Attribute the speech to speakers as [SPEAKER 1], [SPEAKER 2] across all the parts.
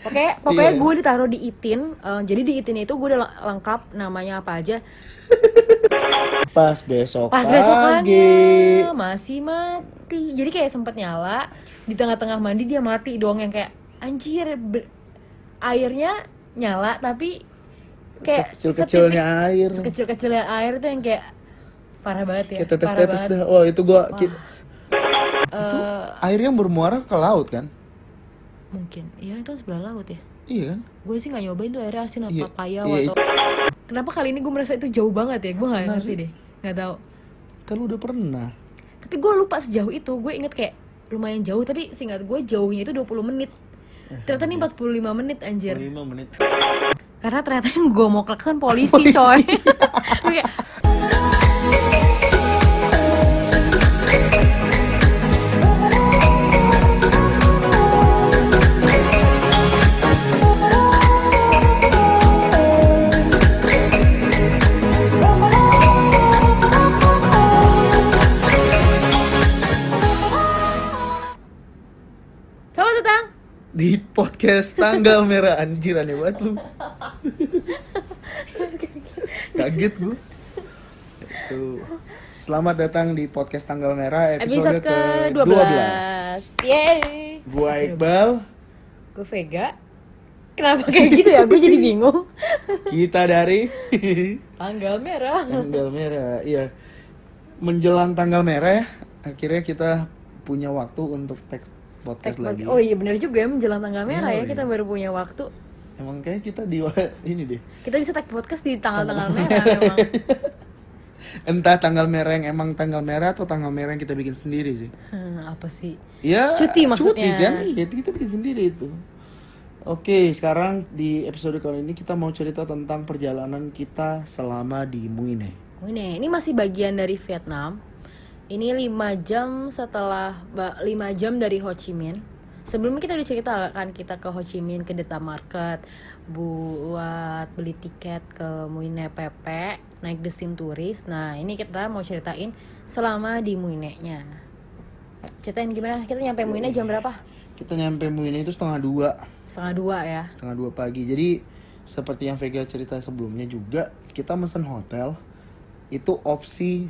[SPEAKER 1] Pokoknya, pokoknya
[SPEAKER 2] Iya.
[SPEAKER 1] gue ditaruh di itin. eh, jadi di itin itu gue udah le- lengkap namanya apa aja.
[SPEAKER 2] Pas besok
[SPEAKER 1] Pas
[SPEAKER 2] pagi.
[SPEAKER 1] besokannya masih mati. Jadi kayak sempet nyala di tengah-tengah mandi dia mati doang yang kayak anjir be- airnya nyala tapi kayak
[SPEAKER 2] Sekecil-kecilnya air.
[SPEAKER 1] sekecil kecilnya air tuh yang kayak parah banget ya.
[SPEAKER 2] Kayak
[SPEAKER 1] parah
[SPEAKER 2] tetes-tetes
[SPEAKER 1] banget.
[SPEAKER 2] dah. Oh, itu gua ki-
[SPEAKER 1] Eh,
[SPEAKER 2] air yang bermuara ke laut kan?
[SPEAKER 1] mungkin ya itu sebelah laut ya.
[SPEAKER 2] Iya kan?
[SPEAKER 1] Gue sih nggak nyobain tuh airnya asin apa
[SPEAKER 2] Iya,
[SPEAKER 1] payau
[SPEAKER 2] iya,
[SPEAKER 1] atau Kenapa kali ini gue merasa itu jauh banget ya? Gue nggak
[SPEAKER 2] Kenapa
[SPEAKER 1] ngerti deh, nggak tahu.
[SPEAKER 2] Kan lu udah pernah.
[SPEAKER 1] Tapi gue lupa sejauh itu, gue inget kayak lumayan jauh tapi singkat gue jauhnya itu 20 menit. Ternyata nih 45 menit anjir.
[SPEAKER 2] 5 menit.
[SPEAKER 1] Karena ternyata yang gue mau klakson polisi, coy. Iya. Gue kayak, Selamat datang.
[SPEAKER 2] Di podcast tanggal merah anjir aneh banget lu. Kaget gua. Itu. Selamat datang di podcast tanggal merah
[SPEAKER 1] Episode
[SPEAKER 2] episode,
[SPEAKER 1] ke-12. Yeay.
[SPEAKER 2] Gua Iqbal,
[SPEAKER 1] Gue Vega. Kenapa kayak gitu ya? Gue jadi bingung.
[SPEAKER 2] kita dari
[SPEAKER 1] Tanggal merah.
[SPEAKER 2] tanggal merah. Iya. Menjelang tanggal merah ya, akhirnya kita punya waktu untuk tag podcast
[SPEAKER 1] Tag
[SPEAKER 2] lagi.
[SPEAKER 1] podcast. Oh iya benar juga ya menjelang tanggal merah ya
[SPEAKER 2] Iya.
[SPEAKER 1] kita baru punya waktu.
[SPEAKER 2] Emang kayak kita di ini deh.
[SPEAKER 1] Kita bisa tag podcast di tanggal-tanggal merah memang.
[SPEAKER 2] Entah tanggal merah yang emang tanggal merah atau tanggal merah yang kita bikin sendiri sih.
[SPEAKER 1] Hmm, apa sih?
[SPEAKER 2] Ya,
[SPEAKER 1] Cuti maksudnya.
[SPEAKER 2] Cuti kan? Iya, kita bikin sendiri itu. Oke, sekarang di episode kali ini kita mau cerita tentang perjalanan kita selama di Muine.
[SPEAKER 1] Oh, ini, ini masih bagian dari Vietnam. Ini 5 jam setelah 5 jam dari Ho Chi Minh. Sebelumnya kita udah cerita kan kita ke Ho Chi Minh ke Deta Market buat beli tiket ke Muine PP naik desin turis. Nah, ini kita mau ceritain selama di Muine-nya. Eh, Ceritain gimana? Kita nyampe Muine jam berapa?
[SPEAKER 2] Kita nyampe Muine itu setengah dua,
[SPEAKER 1] Setengah dua ya.
[SPEAKER 2] setengah dua pagi. Jadi seperti yang Vega cerita sebelumnya juga, kita mesen hotel itu opsi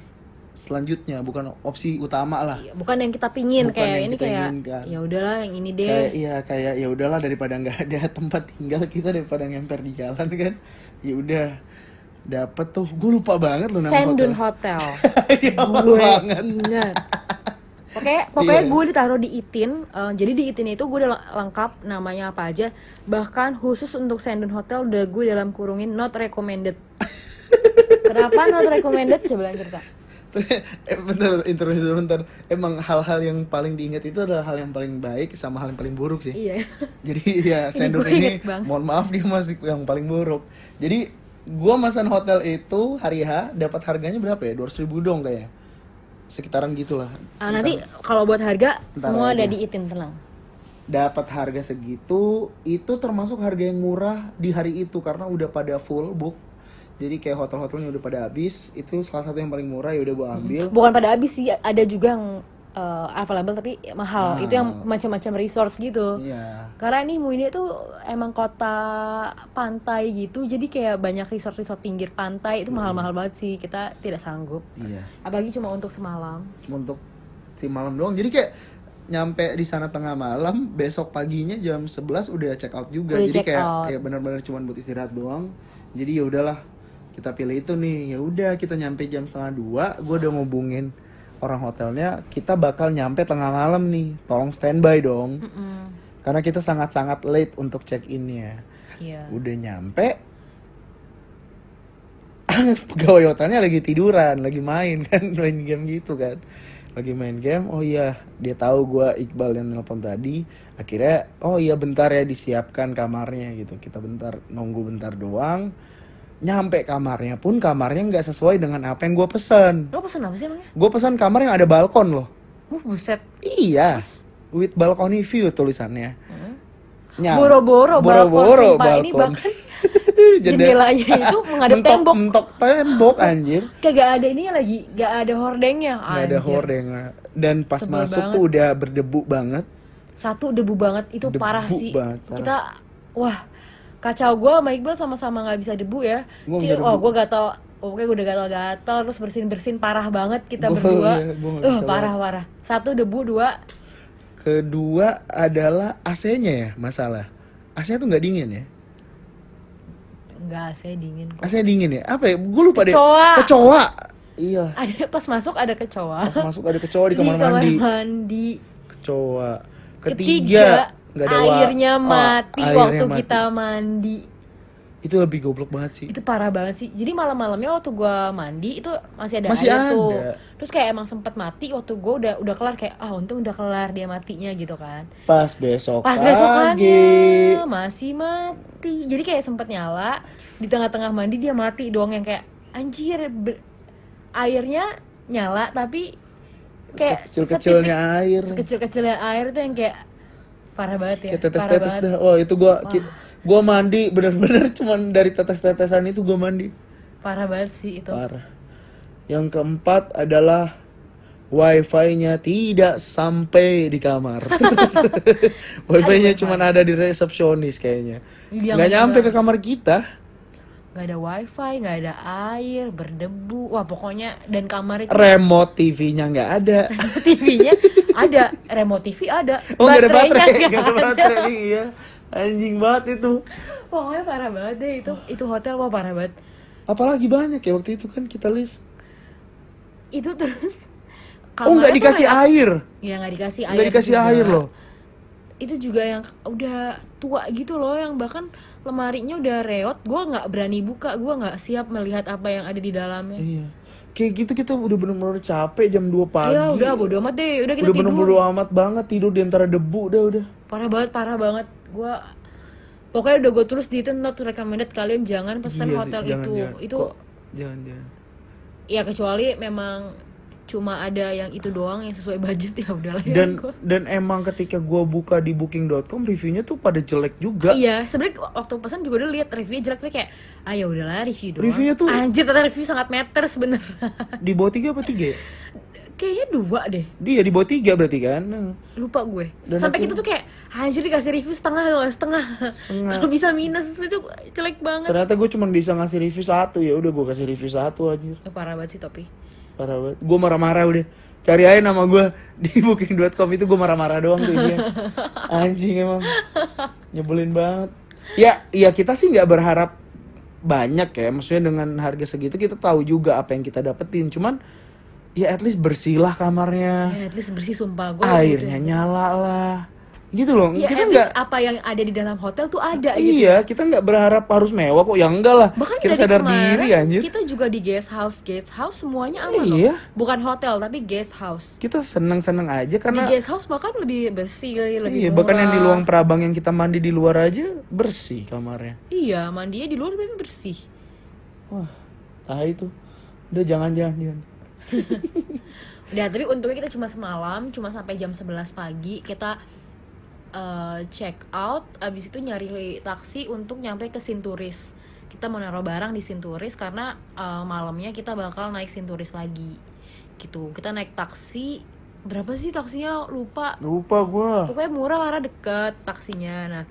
[SPEAKER 2] selanjutnya, bukan opsi utama lah.
[SPEAKER 1] Iya, Bukan yang kita pingin
[SPEAKER 2] Bukan
[SPEAKER 1] kayak
[SPEAKER 2] yang
[SPEAKER 1] ini
[SPEAKER 2] kita
[SPEAKER 1] kayak
[SPEAKER 2] inginkan.
[SPEAKER 1] ya udahlah yang ini deh.
[SPEAKER 2] kayak iya kayak ya udahlah daripada nggak ada tempat tinggal kita daripada ngemper di jalan kan ya udah dapet tuh gue lupa banget loh nama
[SPEAKER 1] Sendun
[SPEAKER 2] hotel
[SPEAKER 1] Hotel.
[SPEAKER 2] Iya,
[SPEAKER 1] gue
[SPEAKER 2] banget.
[SPEAKER 1] ingat. Pokoknya, pokoknya
[SPEAKER 2] Iya.
[SPEAKER 1] gue ditaruh di itin. eh, jadi di itin itu gue udah le- lengkap namanya apa aja. Bahkan khusus untuk Sendun Hotel udah gue dalam kurungin not recommended. Kenapa not recommended? Coba lanjut cerita.
[SPEAKER 2] eh, bentar interview dulu bentar emang hal-hal yang paling diingat itu adalah hal yang paling baik sama hal yang paling buruk sih
[SPEAKER 1] Iya.
[SPEAKER 2] jadi ya Sendun
[SPEAKER 1] gue
[SPEAKER 2] ini,
[SPEAKER 1] inget banget.
[SPEAKER 2] mohon maaf dia masih yang paling buruk jadi gue mesen hotel itu hari H dapat harganya berapa ya 200 ribu dong kayak sekitaran gitulah
[SPEAKER 1] Ah, nanti kalau buat harga
[SPEAKER 2] Bentar
[SPEAKER 1] semua ada
[SPEAKER 2] aja.
[SPEAKER 1] di itin tenang.
[SPEAKER 2] dapat harga segitu itu termasuk harga yang murah di hari itu karena udah pada full book jadi kayak hotel-hotelnya udah pada habis itu salah satu yang paling murah ya udah gue ambil
[SPEAKER 1] Bukan pada habis sih, ada juga yang eh, available tapi mahal.
[SPEAKER 2] Ah.
[SPEAKER 1] Itu yang macam-macam resort gitu.
[SPEAKER 2] iya
[SPEAKER 1] Karena nih Muine tuh emang kota pantai gitu, jadi kayak banyak resort-resort pinggir pantai itu mahal-mahal banget sih. Kita tidak sanggup.
[SPEAKER 2] iya
[SPEAKER 1] Apalagi cuma untuk semalam.
[SPEAKER 2] Cuma untuk si malam doang jadi kayak nyampe di sana tengah malam besok paginya jam 11 udah check out juga
[SPEAKER 1] Udah
[SPEAKER 2] jadi
[SPEAKER 1] check
[SPEAKER 2] kayak
[SPEAKER 1] out.
[SPEAKER 2] kayak benar-benar cuman buat istirahat doang jadi ya udahlah kita pilih itu nih ya udah kita nyampe jam setengah dua gue udah ngubungin orang hotelnya kita bakal nyampe tengah malam nih tolong standby dong
[SPEAKER 1] Mm.
[SPEAKER 2] karena kita sangat-sangat late untuk check innya
[SPEAKER 1] Iya.
[SPEAKER 2] udah nyampe pegawai hotelnya lagi tiduran lagi main kan main game gitu kan lagi main game oh iya dia tahu gua Iqbal yang nelpon tadi akhirnya oh iya bentar ya disiapkan kamarnya gitu kita bentar nunggu bentar doang nyampe kamarnya pun kamarnya nggak sesuai dengan apa yang gua pesan
[SPEAKER 1] Lo pesen apa sih emangnya?
[SPEAKER 2] gua pesan kamar yang ada balkon loh
[SPEAKER 1] Uh, buset.
[SPEAKER 2] iya with balcony view tulisannya
[SPEAKER 1] Hmm.
[SPEAKER 2] Nyam-
[SPEAKER 1] Boro-boro balkon,
[SPEAKER 2] Ya, Boro-boro
[SPEAKER 1] sumpah. Ini
[SPEAKER 2] balkon.
[SPEAKER 1] bahkan
[SPEAKER 2] Jendela-
[SPEAKER 1] jendelanya itu menghadap
[SPEAKER 2] mentok,
[SPEAKER 1] tembok.
[SPEAKER 2] mentok tembok anjir
[SPEAKER 1] Kagak ada ini lagi, gak ada hordennya.
[SPEAKER 2] nggak ada
[SPEAKER 1] anjir.
[SPEAKER 2] hordeng dan pas
[SPEAKER 1] Sebel
[SPEAKER 2] masuk
[SPEAKER 1] banget.
[SPEAKER 2] tuh udah berdebu banget
[SPEAKER 1] Satu debu banget itu
[SPEAKER 2] Debu
[SPEAKER 1] parah sih.
[SPEAKER 2] banget, parah.
[SPEAKER 1] Kita wah kacau gue sama Iqbal sama-sama nggak bisa debu ya
[SPEAKER 2] Gua
[SPEAKER 1] Ki,
[SPEAKER 2] nggak bisa
[SPEAKER 1] oh
[SPEAKER 2] debu.
[SPEAKER 1] gue gatal oh, pokoknya gue udah gatal-gatal terus bersin-bersin parah banget kita
[SPEAKER 2] Gua-
[SPEAKER 1] berdua
[SPEAKER 2] iya, gua nggak
[SPEAKER 1] Uh,
[SPEAKER 2] bisa
[SPEAKER 1] parah parah satu debu dua
[SPEAKER 2] Kedua adalah AC-nya ya masalah. AC-nya tuh nggak dingin ya.
[SPEAKER 1] enggak saya dingin kok
[SPEAKER 2] AC-nya dingin ya. Apa ya? Gue lupa deh.
[SPEAKER 1] Kecoa.
[SPEAKER 2] Kecoa. Iya.
[SPEAKER 1] ada pas masuk ada kecoa
[SPEAKER 2] Pas masuk ada kecoa di kamar
[SPEAKER 1] kamar
[SPEAKER 2] mandi.
[SPEAKER 1] mandi.
[SPEAKER 2] Kecoa. Ketiga,
[SPEAKER 1] Ketiga,
[SPEAKER 2] nggak ada wa-
[SPEAKER 1] airnya
[SPEAKER 2] Oh,
[SPEAKER 1] mati
[SPEAKER 2] airnya
[SPEAKER 1] waktu
[SPEAKER 2] mati.
[SPEAKER 1] kita mandi.
[SPEAKER 2] Itu lebih goblok banget sih.
[SPEAKER 1] Itu parah banget sih. Jadi malam-malamnya waktu gua mandi itu masih ada
[SPEAKER 2] Masih
[SPEAKER 1] air
[SPEAKER 2] ada.
[SPEAKER 1] tuh. Terus kayak emang sempet mati waktu gua udah udah kelar kayak ah untung udah kelar dia matinya gitu kan.
[SPEAKER 2] Pas besok
[SPEAKER 1] Pas
[SPEAKER 2] pagi.
[SPEAKER 1] besokannya masih mati. Jadi kayak sempet nyala di tengah-tengah mandi dia mati doang yang kayak anjir ber- airnya nyala tapi kayak
[SPEAKER 2] Sekecil-kecilnya
[SPEAKER 1] setitik-
[SPEAKER 2] air.
[SPEAKER 1] sekecil-kecilnya air tuh yang kayak parah banget ya.
[SPEAKER 2] Kayak
[SPEAKER 1] parah
[SPEAKER 2] tetes-tetes
[SPEAKER 1] banget.
[SPEAKER 2] dah. Oh, itu gua ki- gua mandi bener-bener cuman dari tetes-tetesan itu gua mandi.
[SPEAKER 1] Parah banget sih itu.
[SPEAKER 2] Parah. Yang keempat adalah Wifi-nya tidak sampai di kamar. Wifi-nya cuma ada di resepsionis kayaknya.
[SPEAKER 1] Iya,
[SPEAKER 2] Nggak
[SPEAKER 1] bener.
[SPEAKER 2] nyampe ke kamar kita.
[SPEAKER 1] Gak ada wifi, gak ada air, berdebu. Wah pokoknya dan kamar itu
[SPEAKER 2] Remote TV-nya nggak ada.
[SPEAKER 1] TV-nya ada, remote TV ada,
[SPEAKER 2] Oh, nggak ada
[SPEAKER 1] baterainya
[SPEAKER 2] baterai.
[SPEAKER 1] nggak
[SPEAKER 2] Nggak ada
[SPEAKER 1] ada.
[SPEAKER 2] baterai, iya. Anjing banget itu.
[SPEAKER 1] Pokoknya parah banget deh itu itu hotel wah parah banget.
[SPEAKER 2] Apalagi banyak ya waktu itu kan kita list.
[SPEAKER 1] Itu terus
[SPEAKER 2] oh, nggak
[SPEAKER 1] kamarnya tuh
[SPEAKER 2] dikasih
[SPEAKER 1] kayak-
[SPEAKER 2] air.
[SPEAKER 1] Ya nggak dikasih air.
[SPEAKER 2] Nggak dikasih
[SPEAKER 1] juga.
[SPEAKER 2] air loh.
[SPEAKER 1] Itu juga yang udah tua gitu loh yang bahkan lemarinya udah reot, gua nggak berani buka, gua nggak siap melihat apa yang ada di dalamnya.
[SPEAKER 2] Iya. Kayak gitu kita udah bener-bener capek jam 2 pagi.
[SPEAKER 1] Ya udah bodo amat deh, udah kita
[SPEAKER 2] udah
[SPEAKER 1] tidur.
[SPEAKER 2] bener-bener amat banget tidur di antara debu udah udah.
[SPEAKER 1] parah banget parah banget gue pokoknya udah gue tulis di itu not recommended kalian jangan pesan
[SPEAKER 2] Iya sih,
[SPEAKER 1] hotel
[SPEAKER 2] jangan,
[SPEAKER 1] itu
[SPEAKER 2] jangan.
[SPEAKER 1] itu
[SPEAKER 2] Kok- jangan jangan.
[SPEAKER 1] ya kecuali memang cuma ada yang itu doang yang sesuai budget ya udahlah ya
[SPEAKER 2] Dan
[SPEAKER 1] gua.
[SPEAKER 2] dan emang ketika gua buka di booking.com reviewnya tuh pada jelek juga.
[SPEAKER 1] iya sebenarnya waktu pesan juga udah lihat reviewnya jelek tapi kayak ah ya udahlah review doang Ah.
[SPEAKER 2] Reviewnya tuh-
[SPEAKER 1] anjir ternyata review sangat matters bener
[SPEAKER 2] Di bawah 3 apa 3 ya?
[SPEAKER 1] kayaknya dua deh
[SPEAKER 2] Dia di bawah 3 berarti kan. Nah,
[SPEAKER 1] lupa gue
[SPEAKER 2] Dan
[SPEAKER 1] sampai kita
[SPEAKER 2] akhirnya-
[SPEAKER 1] tuh kayak anjir dikasih review setengah loh setengah
[SPEAKER 2] Setengah.
[SPEAKER 1] kalau bisa minus itu jelek banget
[SPEAKER 2] Ternyata gue cuma bisa ngasih review satu ya udah gua kasih review satu anjir.
[SPEAKER 1] Eh, parah banget sih topi
[SPEAKER 2] Parah banget. Gue marah-marah udah. Cari aja nama gue di booking.com itu gue marah-marah doang tuh isinya. Anjing emang. Nyebelin banget. Ya, ya kita sih nggak berharap banyak ya. Maksudnya dengan harga segitu kita tahu juga apa yang kita dapetin. Cuman ya at least bersilah kamarnya.
[SPEAKER 1] ya at least bersih sumpah gue
[SPEAKER 2] Airnya nyala lah. Gitu loh.
[SPEAKER 1] Iya, at
[SPEAKER 2] kita
[SPEAKER 1] least
[SPEAKER 2] nggak
[SPEAKER 1] apa yang ada di dalam hotel tuh ada gitu.
[SPEAKER 2] Iya, kita nggak berharap harus mewah kok. Ya enggak lah.
[SPEAKER 1] Bahkan
[SPEAKER 2] kita
[SPEAKER 1] dari
[SPEAKER 2] sadar
[SPEAKER 1] kemarin,
[SPEAKER 2] diri anjir.
[SPEAKER 1] Kita juga di guest house, guest house semuanya aman loh.
[SPEAKER 2] Iya.
[SPEAKER 1] Bukan hotel tapi guest house.
[SPEAKER 2] Kita seneng-seneng aja karena
[SPEAKER 1] di guest house bahkan lebih bersih, lebih
[SPEAKER 2] iya, bahkan yang di
[SPEAKER 1] murah.
[SPEAKER 2] luang prabang yang kita mandi di luar aja bersih kamarnya.
[SPEAKER 1] Iya, mandinya di luar lebih bersih.
[SPEAKER 2] Wah, tai itu. Udah jangan jangan jangan.
[SPEAKER 1] Udah, tapi untungnya kita cuma semalam, cuma sampai jam 11 pagi kita eh, check out, abis itu nyari taksi untuk nyampe ke Sinturis. Kita mau naruh barang di Sinturis karena eh, malamnya kita bakal naik Sinturis lagi. Gitu. Kita naik taksi berapa sih taksinya? Lupa.
[SPEAKER 2] Lupa gua.
[SPEAKER 1] Pokoknya murah karena deket taksinya. Nah,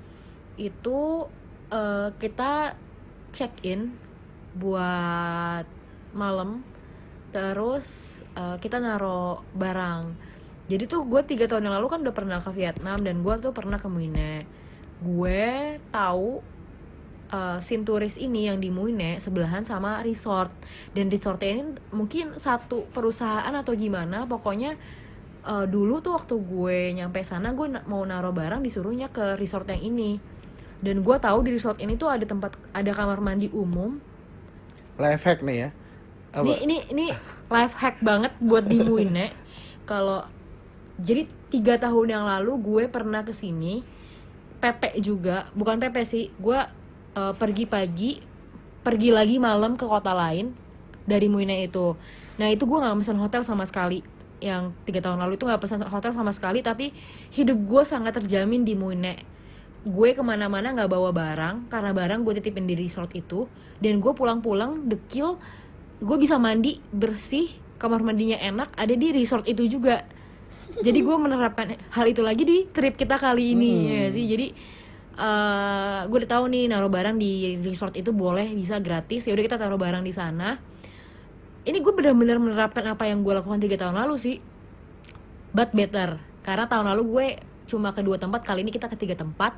[SPEAKER 1] itu eh, kita check in buat malam. Terus eh, kita naro barang. Jadi tuh gue tiga tahun yang lalu kan udah pernah ke Vietnam dan gue tuh pernah ke Muine. Gue tahu eh, Sinturis ini yang di Muine sebelahan sama resort dan resortnya ini mungkin satu perusahaan atau gimana pokoknya eh, dulu tuh waktu gue nyampe sana gue na- mau naruh barang disuruhnya ke resort yang ini dan gue tahu di resort ini tuh ada tempat ada kamar mandi umum
[SPEAKER 2] Life hack nih ya. Apa?
[SPEAKER 1] ini ini ini life hack banget buat di Muine. Kalau jadi tiga tahun yang lalu gue pernah ke sini. Pepe juga, bukan Pepe sih. Gue eh, pergi pagi, pergi lagi malam ke kota lain dari Muine itu. Nah itu gue nggak pesan hotel sama sekali. Yang tiga tahun lalu itu nggak pesan hotel sama sekali. Tapi hidup gue sangat terjamin di Muine gue kemana-mana nggak bawa barang karena barang gue titipin di resort itu dan gue pulang-pulang dekil gue bisa mandi bersih kamar mandinya enak ada di resort itu juga jadi gue menerapkan hal itu lagi di trip kita kali ini ya sih jadi eh gue udah tahu nih naruh barang di resort itu boleh bisa gratis ya udah kita taruh barang di sana ini gue benar-benar menerapkan apa yang gue lakukan tiga tahun lalu sih but better karena tahun lalu gue cuma ke dua tempat kali ini kita ke tiga tempat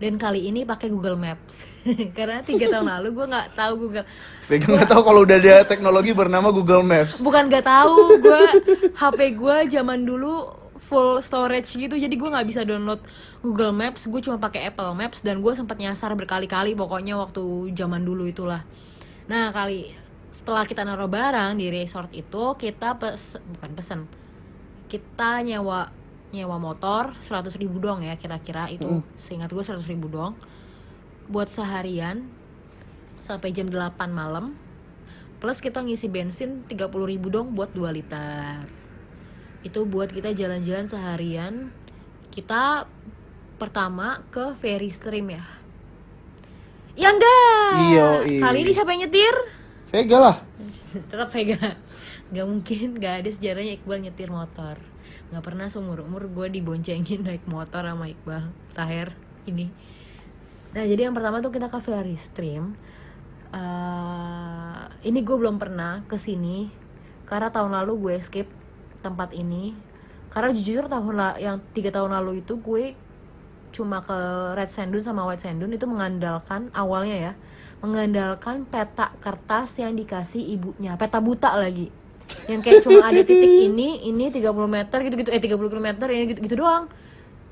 [SPEAKER 1] dan kali ini pakai Google Maps karena tiga tahun lalu gue nggak tahu Google
[SPEAKER 2] Vega nggak tahu kalau udah ada teknologi bernama Google Maps.
[SPEAKER 1] bukan nggak tahu gue HP gue zaman dulu full storage gitu jadi gue nggak bisa download Google Maps gue cuma pakai Apple Maps dan gue sempat nyasar berkali-kali pokoknya waktu zaman dulu itulah nah kali setelah kita naruh barang di resort itu kita pes bukan pesen kita nyewa nyewa motor 100.000 ribu dong ya kira-kira itu seingat gue 100.000 ribu dong buat seharian sampai jam 8 malam plus kita ngisi bensin 30.000 ribu dong buat 2 liter itu buat kita jalan-jalan seharian kita pertama ke ferry stream ya ya enggak
[SPEAKER 2] Yoi.
[SPEAKER 1] kali ini siapa yang nyetir
[SPEAKER 2] Vega lah.
[SPEAKER 1] tetap Vega nggak mungkin nggak ada sejarahnya Iqbal nyetir motor nggak pernah seumur umur gue diboncengin naik motor sama Iqbal Taher ini nah jadi yang pertama tuh kita ke Ferry Stream Eh, ini gue belum pernah kesini karena tahun lalu gue skip tempat ini karena jujur tahun la- yang tiga tahun lalu itu gue cuma ke Red Sandun sama White Sandun itu mengandalkan awalnya ya mengandalkan peta kertas yang dikasih ibunya peta buta lagi yang kayak cuma ada titik ini ini 30 meter gitu-gitu eh 30 km ini gitu, gitu doang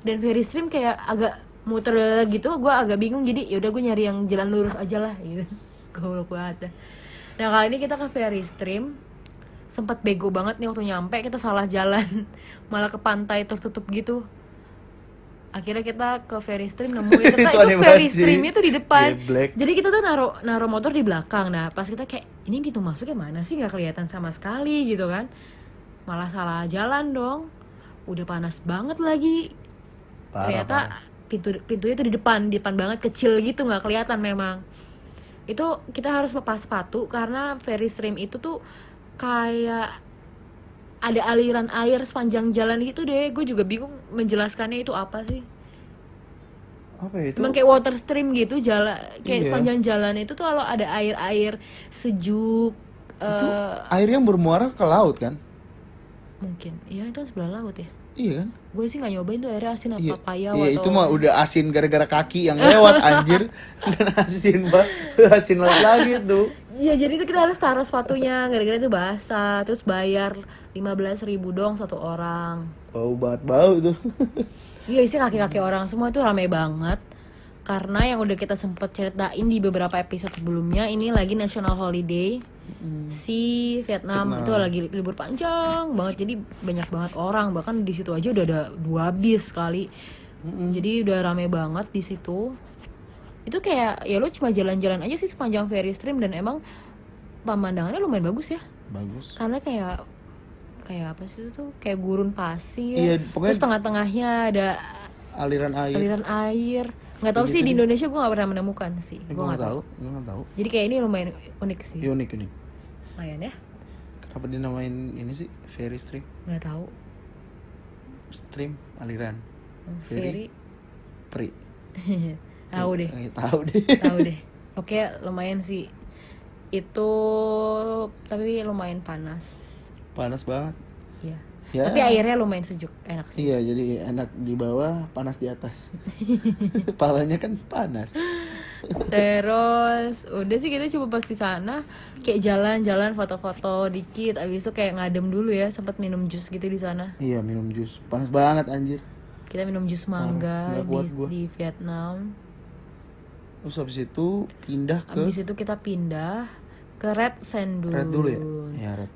[SPEAKER 1] dan ferry stream kayak agak muter gitu gue agak bingung jadi yaudah gue nyari yang jalan lurus aja lah gitu goblok banget dah. nah kali ini kita ke ferry stream sempat bego banget nih waktu nyampe kita salah jalan malah ke pantai tertutup gitu akhirnya kita ke ferry stream nemuin
[SPEAKER 2] Itu
[SPEAKER 1] ternyata
[SPEAKER 2] aneh
[SPEAKER 1] itu ferry
[SPEAKER 2] banget sih.
[SPEAKER 1] stream itu di depan
[SPEAKER 2] Geblek.
[SPEAKER 1] jadi kita tuh naruh naruh motor di belakang nah pas kita kayak ini pintu masuknya mana sih nggak kelihatan sama sekali gitu kan malah salah jalan dong udah panas banget lagi
[SPEAKER 2] Parah,
[SPEAKER 1] ternyata pintu pintunya tuh di depan di depan banget kecil gitu nggak kelihatan memang itu kita harus lepas sepatu karena ferry stream itu tuh kayak ada aliran air sepanjang jalan gitu deh gue juga bingung menjelaskannya itu apa sih
[SPEAKER 2] Apa ya itu?
[SPEAKER 1] Emang kayak water stream gitu jalan kayak
[SPEAKER 2] Iya.
[SPEAKER 1] sepanjang jalan itu tuh kalau ada air air sejuk
[SPEAKER 2] Itu
[SPEAKER 1] eh,
[SPEAKER 2] air yang bermuara ke laut kan?
[SPEAKER 1] mungkin ya itu sebelah laut ya
[SPEAKER 2] Iya kan?
[SPEAKER 1] gue sih nggak nyobain tuh airnya asin apa
[SPEAKER 2] Iya,
[SPEAKER 1] payau
[SPEAKER 2] iya,
[SPEAKER 1] atau
[SPEAKER 2] itu mah udah asin gara-gara kaki yang lewat anjir dan asin banget, asin laut lagi tuh.
[SPEAKER 1] Ya jadi itu kita harus taruh sepatunya gara-gara itu basah terus bayar 15.000 ribu dong satu orang.
[SPEAKER 2] Bau banget bau tuh.
[SPEAKER 1] Iya isi kaki-kaki
[SPEAKER 2] Hmm.
[SPEAKER 1] orang semua itu ramai banget karena yang udah kita sempet ceritain di beberapa episode sebelumnya ini lagi national holiday
[SPEAKER 2] Hmm.
[SPEAKER 1] si Vietnam, itu lagi libur panjang banget jadi banyak banget orang bahkan di situ aja udah ada dua bis kali
[SPEAKER 2] Hmm.
[SPEAKER 1] jadi udah ramai banget di situ itu kayak ya lu cuma jalan-jalan aja sih sepanjang ferry stream dan emang pemandangannya lumayan bagus ya
[SPEAKER 2] Bagus.
[SPEAKER 1] karena kayak kayak apa sih itu tuh kayak gurun pasir
[SPEAKER 2] Iya, pokoknya-
[SPEAKER 1] terus tengah-tengahnya ada
[SPEAKER 2] Aliran air.
[SPEAKER 1] aliran air nggak tahu sih di Indonesia gue nggak pernah menemukan sih
[SPEAKER 2] Eh,
[SPEAKER 1] gue
[SPEAKER 2] gua
[SPEAKER 1] nggak
[SPEAKER 2] nggak
[SPEAKER 1] tahu
[SPEAKER 2] tahu, gua nggak tahu.
[SPEAKER 1] jadi kayak ini lumayan unik sih
[SPEAKER 2] Iya, unik unik.
[SPEAKER 1] lumayan ya
[SPEAKER 2] Kenapa dinamain ini sih ferry stream?
[SPEAKER 1] nggak tahu
[SPEAKER 2] Stream aliran.
[SPEAKER 1] Hmm, Ferry
[SPEAKER 2] Ferry. Pri.
[SPEAKER 1] tahu deh
[SPEAKER 2] Eh, tahu deh.
[SPEAKER 1] tahu deh oke lumayan sih itu tapi lumayan panas
[SPEAKER 2] Panas banget.
[SPEAKER 1] ya
[SPEAKER 2] Ya.
[SPEAKER 1] tapi airnya lumayan sejuk enak sih
[SPEAKER 2] Iya, jadi enak di bawah, panas di atas. Palanya kan panas. Iya.
[SPEAKER 1] Terus udah sih kita coba pas di sana kayak jalan-jalan foto-foto dikit abis itu kayak ngadem dulu ya sempat minum jus gitu di sana.
[SPEAKER 2] Iya, minum jus. Panas banget anjir.
[SPEAKER 1] Kita minum jus mangga
[SPEAKER 2] nggak
[SPEAKER 1] di,
[SPEAKER 2] kuat gua.
[SPEAKER 1] di Vietnam.
[SPEAKER 2] Terus habis itu pindah ke
[SPEAKER 1] Abis itu kita pindah ke Red Sandun.
[SPEAKER 2] Red dulu ya? Iya, Red.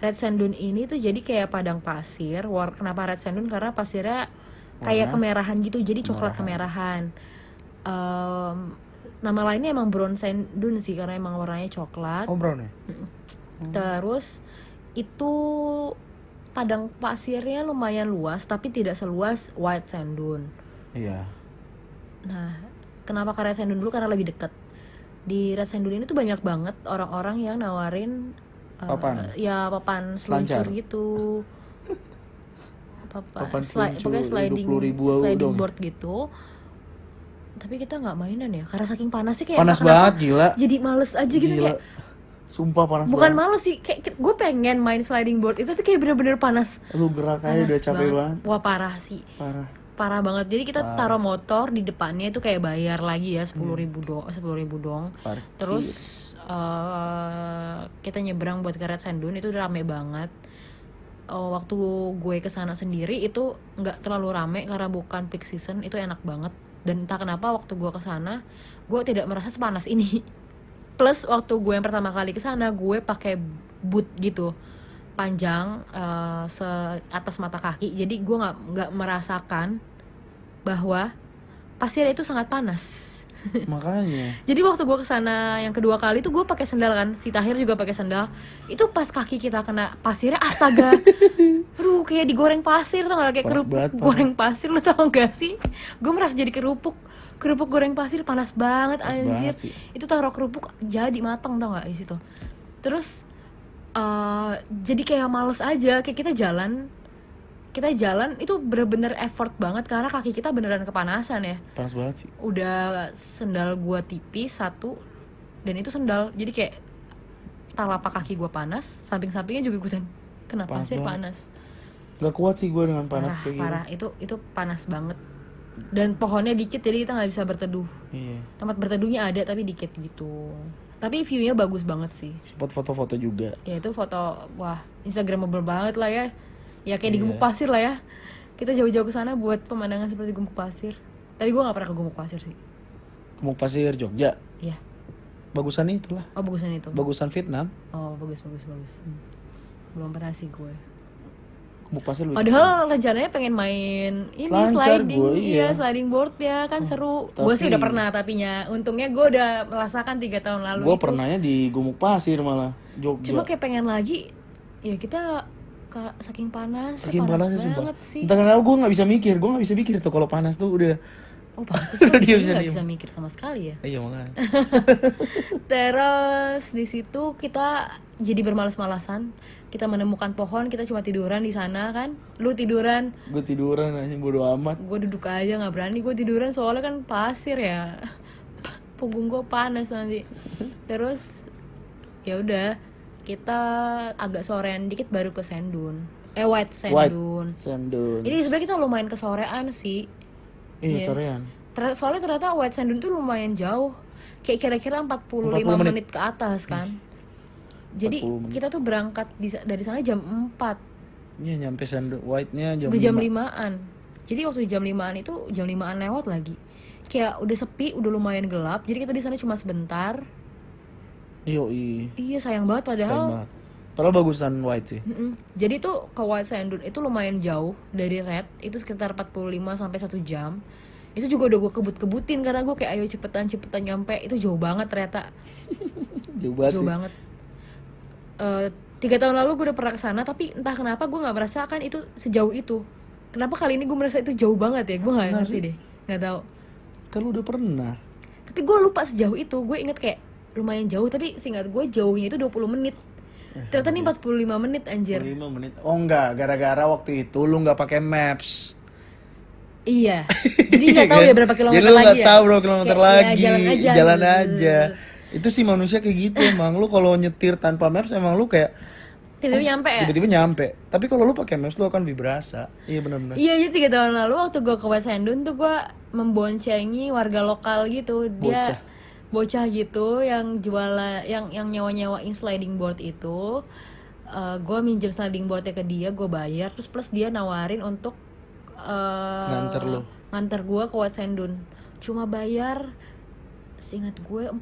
[SPEAKER 1] Red Sandun ini tuh jadi kayak padang pasir. War kenapa Red Sandun? Karena pasirnya kayak kemerahan gitu, jadi coklat kemerahan. Em, nama lainnya emang Brown Sandun sih karena emang warnanya coklat.
[SPEAKER 2] Oh, brown ya?
[SPEAKER 1] Terus itu padang pasirnya lumayan luas tapi tidak seluas White Sandun.
[SPEAKER 2] Iya.
[SPEAKER 1] Nah, kenapa ke Red Sandun dulu karena lebih dekat. Di Red Sandun ini tuh banyak banget orang-orang yang nawarin eh,
[SPEAKER 2] Papan.
[SPEAKER 1] ya papan seluncur
[SPEAKER 2] Selancar.
[SPEAKER 1] gitu. Papan,
[SPEAKER 2] Papan
[SPEAKER 1] sli-
[SPEAKER 2] seluncur,
[SPEAKER 1] pokoknya sliding
[SPEAKER 2] 20.000
[SPEAKER 1] sliding
[SPEAKER 2] dong.
[SPEAKER 1] board gitu. tapi kita nggak mainan ya karena saking panasnya kayak
[SPEAKER 2] Panas
[SPEAKER 1] entah kenapa
[SPEAKER 2] banget gila.
[SPEAKER 1] jadi males aja gitu
[SPEAKER 2] Gila.
[SPEAKER 1] kayak
[SPEAKER 2] Sumpah panas
[SPEAKER 1] bukan
[SPEAKER 2] banget.
[SPEAKER 1] males sih kayak gue pengen main sliding board itu tapi kayak bener-bener panas
[SPEAKER 2] Lu gerak aja
[SPEAKER 1] Panas
[SPEAKER 2] udah capek banget.
[SPEAKER 1] wah parah sih
[SPEAKER 2] Parah.
[SPEAKER 1] parah banget jadi kita taruh motor di depannya itu kayak bayar lagi ya sepuluh ribu dong sepuluh ribu dong
[SPEAKER 2] Parkir.
[SPEAKER 1] terus eh, kita nyebrang buat ke Red Sandun itu udah rame banget Eh, waktu gue kesana sendiri itu nggak terlalu rame karena bukan peak season itu enak banget dan entah kenapa waktu gue kesana gue tidak merasa sepanas ini plus waktu gue yang pertama kali kesana gue pakai boot gitu panjang eh, se atas mata kaki jadi gue nggak nggak merasakan bahwa pasir itu sangat panas
[SPEAKER 2] Iya. Makanya.
[SPEAKER 1] jadi waktu gue kesana yang kedua kali tuh gue pakai sendal kan, si Tahir juga pakai sendal. Itu pas kaki kita kena pasirnya astaga, aduh kayak digoreng pasir tuh nggak kayak
[SPEAKER 2] Panas
[SPEAKER 1] kerupuk
[SPEAKER 2] banget, Pak.
[SPEAKER 1] goreng pasir lu tau gak sih? Gue merasa jadi kerupuk, kerupuk goreng pasir panas banget
[SPEAKER 2] Panas
[SPEAKER 1] anjir.
[SPEAKER 2] banget sih.
[SPEAKER 1] Itu taruh kerupuk jadi mateng tau nggak di situ. Terus eh, jadi kayak males aja, kayak kita jalan kita jalan itu bener-bener effort banget karena kaki kita beneran kepanasan ya
[SPEAKER 2] Panas banget sih.
[SPEAKER 1] udah sendal gua tipis satu dan itu sendal jadi kayak telapak kaki gua panas samping-sampingnya juga ikutan kenapa
[SPEAKER 2] Panas
[SPEAKER 1] sih
[SPEAKER 2] banget.
[SPEAKER 1] panas
[SPEAKER 2] Gak kuat sih gue dengan panas
[SPEAKER 1] parah
[SPEAKER 2] kayak
[SPEAKER 1] parah itu itu panas banget dan pohonnya dikit jadi kita nggak bisa berteduh
[SPEAKER 2] gini. Iya.
[SPEAKER 1] tempat berteduhnya ada tapi dikit gitu tapi view-nya bagus banget sih
[SPEAKER 2] Sempat foto-foto juga.
[SPEAKER 1] ya itu foto wah instagramable banget lah ya ya kayak
[SPEAKER 2] Iya.
[SPEAKER 1] di gumuk pasir lah ya kita jauh-jauh ke sana buat pemandangan seperti gumuk pasir tapi gua nggak pernah ke gumuk pasir sih
[SPEAKER 2] Kemuk pasir Jogja.
[SPEAKER 1] ya
[SPEAKER 2] Bagusan itulah.
[SPEAKER 1] oh bagusan itu
[SPEAKER 2] Bagusan Vietnam.
[SPEAKER 1] Oh bagus bagus bagus.
[SPEAKER 2] Hmm.
[SPEAKER 1] Belum pernah sih gue.
[SPEAKER 2] Kemuk pasir lebih
[SPEAKER 1] Padahal rencananya pengen main ini
[SPEAKER 2] Gitu. Selancar
[SPEAKER 1] sliding,
[SPEAKER 2] gue, iya. Oh,
[SPEAKER 1] iya. sliding board ya kan seru. Gue sih udah
[SPEAKER 2] tapi-
[SPEAKER 1] pernah tapinya. Untungnya gue udah merasakan tiga tahun lalu.
[SPEAKER 2] Gue
[SPEAKER 1] itu.
[SPEAKER 2] pernahnya di gumuk pasir malah Jogja.
[SPEAKER 1] Cuma kayak pengen lagi. Ya kita ka- saking panas,
[SPEAKER 2] Saking panasnya sumpah.
[SPEAKER 1] banget sih.
[SPEAKER 2] Entah kenapa gue nggak bisa mikir, gue nggak bisa mikir tuh kalau panas tuh udah.
[SPEAKER 1] Oh pantas kan dia
[SPEAKER 2] Dia
[SPEAKER 1] bisa,
[SPEAKER 2] bisa diem.
[SPEAKER 1] bisa mikir sama sekali ya.
[SPEAKER 2] Iya makanya.
[SPEAKER 1] Terus di situ kita jadi bermalas-malasan. Kita menemukan pohon, kita cuma tiduran di sana kan. Lu tiduran,
[SPEAKER 2] gue tiduran anjing bodo amat.
[SPEAKER 1] gue duduk aja nggak berani gue tiduran soalnya kan pasir ya punggung gue panas nanti terus ya udah kita agak sorean dikit baru ke Sendun eh White
[SPEAKER 2] White.
[SPEAKER 1] Sendun Iya.
[SPEAKER 2] Sendun.
[SPEAKER 1] ini sebenarnya kita lumayan kesorean sih
[SPEAKER 2] Iya sorean.
[SPEAKER 1] Ter- soalnya ternyata White Sandun tuh lumayan jauh kayak kira-kira 45
[SPEAKER 2] 40 menit.
[SPEAKER 1] menit. ke atas kan jadi
[SPEAKER 2] 40 menit.
[SPEAKER 1] kita tuh berangkat di sa- dari sana jam 4
[SPEAKER 2] Iya nyampe sendun white-nya jam
[SPEAKER 1] udah jam
[SPEAKER 2] lima.
[SPEAKER 1] limaan jadi waktu jam limaan itu jam limaan lewat lagi kayak udah sepi udah lumayan gelap jadi kita di sana cuma sebentar
[SPEAKER 2] Iya iya.
[SPEAKER 1] iya sayang banget
[SPEAKER 2] Sayang
[SPEAKER 1] padahal
[SPEAKER 2] banget. Padahal bagusan white sih.
[SPEAKER 1] Mm-mm. jadi tuh ke White Sandun itu lumayan jauh dari Red itu sekitar 45 sampai 1 jam itu juga udah gue kebut-kebutin karena gue kayak ayo cepetan cepetan nyampe itu jauh banget ternyata
[SPEAKER 2] Jauh banget
[SPEAKER 1] jauh
[SPEAKER 2] sih.
[SPEAKER 1] banget Eh, tiga tahun lalu gue udah pernah kesana tapi entah kenapa gue nggak merasakan itu sejauh itu kenapa kali ini gue merasa itu jauh banget ya gue nggak ngerti deh nggak tahu
[SPEAKER 2] Kan lu udah pernah.
[SPEAKER 1] tapi gue lupa sejauh itu gue inget kayak lumayan jauh tapi singkat gue jauhnya itu 20 menit
[SPEAKER 2] Eh,
[SPEAKER 1] ternyata
[SPEAKER 2] iya.
[SPEAKER 1] nih 45 menit anjir
[SPEAKER 2] 5 menit. Oh enggak, gara-gara waktu itu lu nggak pakai maps.
[SPEAKER 1] iya jadi nggak tahu ya berapa kilometer
[SPEAKER 2] kan? Jadi lu
[SPEAKER 1] lagi
[SPEAKER 2] nggak
[SPEAKER 1] ya
[SPEAKER 2] tahu berapa kilometer
[SPEAKER 1] Kayak, ya,
[SPEAKER 2] lagi.
[SPEAKER 1] jalan aja
[SPEAKER 2] Jalan
[SPEAKER 1] Brrr.
[SPEAKER 2] aja. Itu sih manusia kayak gitu emang. Lu kalau nyetir tanpa maps emang lu kayak
[SPEAKER 1] tiba-tiba nyampe ya
[SPEAKER 2] tiba-tiba nyampe. Tapi kalau lu pakai maps lu akan vibrasa. Iya benar-benar.
[SPEAKER 1] Iya, jadi tiga tahun lalu waktu gue ke West Hendun tuh gue memboncengi warga lokal gitu. Dia bocah, gitu yang jualan, yang yang nyewa-nyewain sliding board itu. Eh gue minjem sliding boardnya ke dia, gue bayar. Terus plus dia nawarin untuk eh,
[SPEAKER 2] Nganter lo.
[SPEAKER 1] Nganter gue ke West Hendun. Cuma bayar, seingat gue 40.000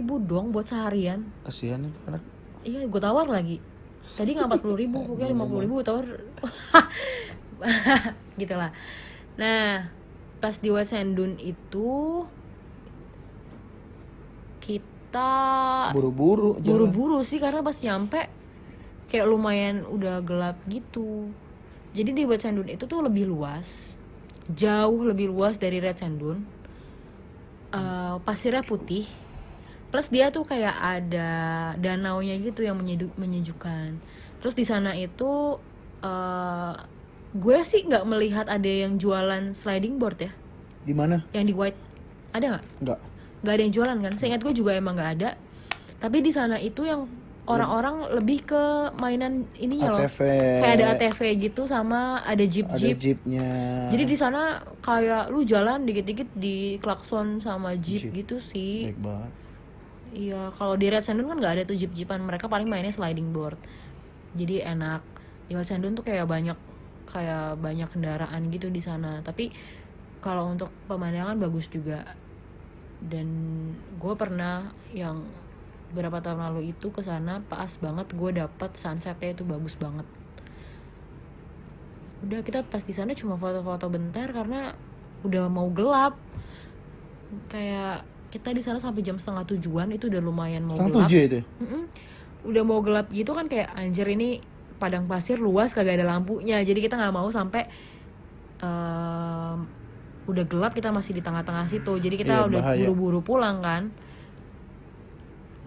[SPEAKER 1] ribu dong buat seharian.
[SPEAKER 2] Kasihan itu anak.
[SPEAKER 1] Iya, gue tawar lagi. Tadi nggak empat puluh ribu, gue lima puluh ribu tawar. Gitulah. Nah, pas di Wasendun itu kita
[SPEAKER 2] Buru-buru. jalan.
[SPEAKER 1] buru-buru sih karena pas nyampe kayak lumayan udah gelap gitu. Jadi di Wasendun itu tuh lebih luas, jauh lebih luas dari Red Sandun. Eh, pasirnya putih, plus dia tuh kayak ada danaunya gitu yang menyedu- menyejukkan. Terus di sana itu eh, gue sih nggak melihat ada yang jualan sliding board ya,
[SPEAKER 2] Di mana?
[SPEAKER 1] yang di white. Ada nggak?
[SPEAKER 2] Enggak.
[SPEAKER 1] Nggak ada yang jualan kan? Seingat gue juga emang nggak ada. Tapi di sana itu yang orang-orang lebih ke mainan ininya Iya loh.
[SPEAKER 2] ATV.
[SPEAKER 1] Kayak ada ATV gitu sama ada
[SPEAKER 2] Ada
[SPEAKER 1] jeep-jeep.
[SPEAKER 2] jeepnya.
[SPEAKER 1] Jadi di sana kayak lu jalan dikit-dikit di klakson sama jeep,
[SPEAKER 2] Jeep.
[SPEAKER 1] gitu sih.
[SPEAKER 2] baik banget.
[SPEAKER 1] Iya, kalau di Red Sandun kan nggak ada tuh jeep-jeepan. Mereka paling mainnya sliding board. Jadi enak. Di Red Sandun tuh kayak banyak kayak banyak kendaraan gitu di sana. Tapi kalau untuk pemandangan bagus juga. Dan gue pernah yang berapa tahun lalu itu ke sana pas banget gue dapet sunsetnya itu bagus banget. Udah kita pas di sana cuma foto-foto bentar karena udah mau gelap. Kayak kita di sana sampai jam setengah tujuan itu udah lumayan mau
[SPEAKER 2] Kan
[SPEAKER 1] gelap.
[SPEAKER 2] tujuh itu.
[SPEAKER 1] Mm-mm. udah mau gelap gitu kan kayak anjir ini padang pasir luas kagak ada lampunya jadi kita nggak mau sampai em, udah gelap kita masih di tengah-tengah situ jadi kita
[SPEAKER 2] Iya,
[SPEAKER 1] udah
[SPEAKER 2] bahaya.
[SPEAKER 1] buru-buru pulang kan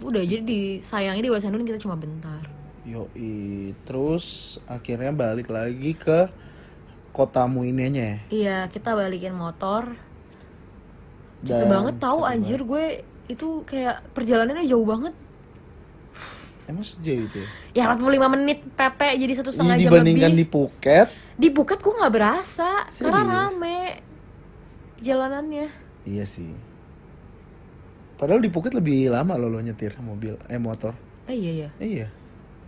[SPEAKER 1] udah jadi di sayangnya di Wasandun kita cuma bentar
[SPEAKER 2] Yoi. Terus akhirnya balik lagi ke kotamu ininya ya.
[SPEAKER 1] iya kita balikin motor
[SPEAKER 2] Dan
[SPEAKER 1] Capek Gitu banget tahu anjir gue itu kayak perjalanannya jauh banget
[SPEAKER 2] Emang sejauh itu ya?
[SPEAKER 1] ya 45 menit pepe jadi satu
[SPEAKER 2] Iya,
[SPEAKER 1] setengah jam
[SPEAKER 2] dibandingkan
[SPEAKER 1] lebih
[SPEAKER 2] di Phuket
[SPEAKER 1] di Buket gue nggak berasa karena
[SPEAKER 2] Serius?
[SPEAKER 1] rame jalanannya
[SPEAKER 2] Iya sih Padahal di Phuket lebih lama loh lo nyetir mobil Eh motor
[SPEAKER 1] eh iya iya
[SPEAKER 2] Eh, Iya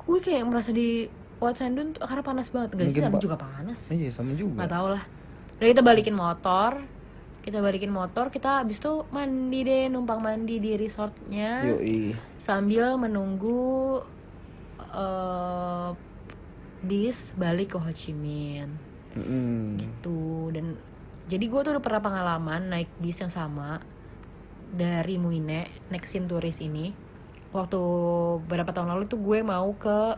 [SPEAKER 1] gue kayak merasa di Wat Sandun tuh karena panas banget nggak sih
[SPEAKER 2] Mungkin,
[SPEAKER 1] tapi
[SPEAKER 2] Pak.
[SPEAKER 1] juga panas
[SPEAKER 2] Eh, Iya sama juga
[SPEAKER 1] nggak tau lah udah kita balikin motor kita balikin motor kita abis itu mandi deh numpang mandi di resortnya
[SPEAKER 2] Yoi
[SPEAKER 1] sambil menunggu eh, bis balik ke Ho Chi Minh
[SPEAKER 2] Mm-mm.
[SPEAKER 1] gitu dan jadi gue tuh udah pernah pengalaman naik bis yang sama dari Muine Nexin Turis ini waktu berapa tahun lalu tuh gue mau ke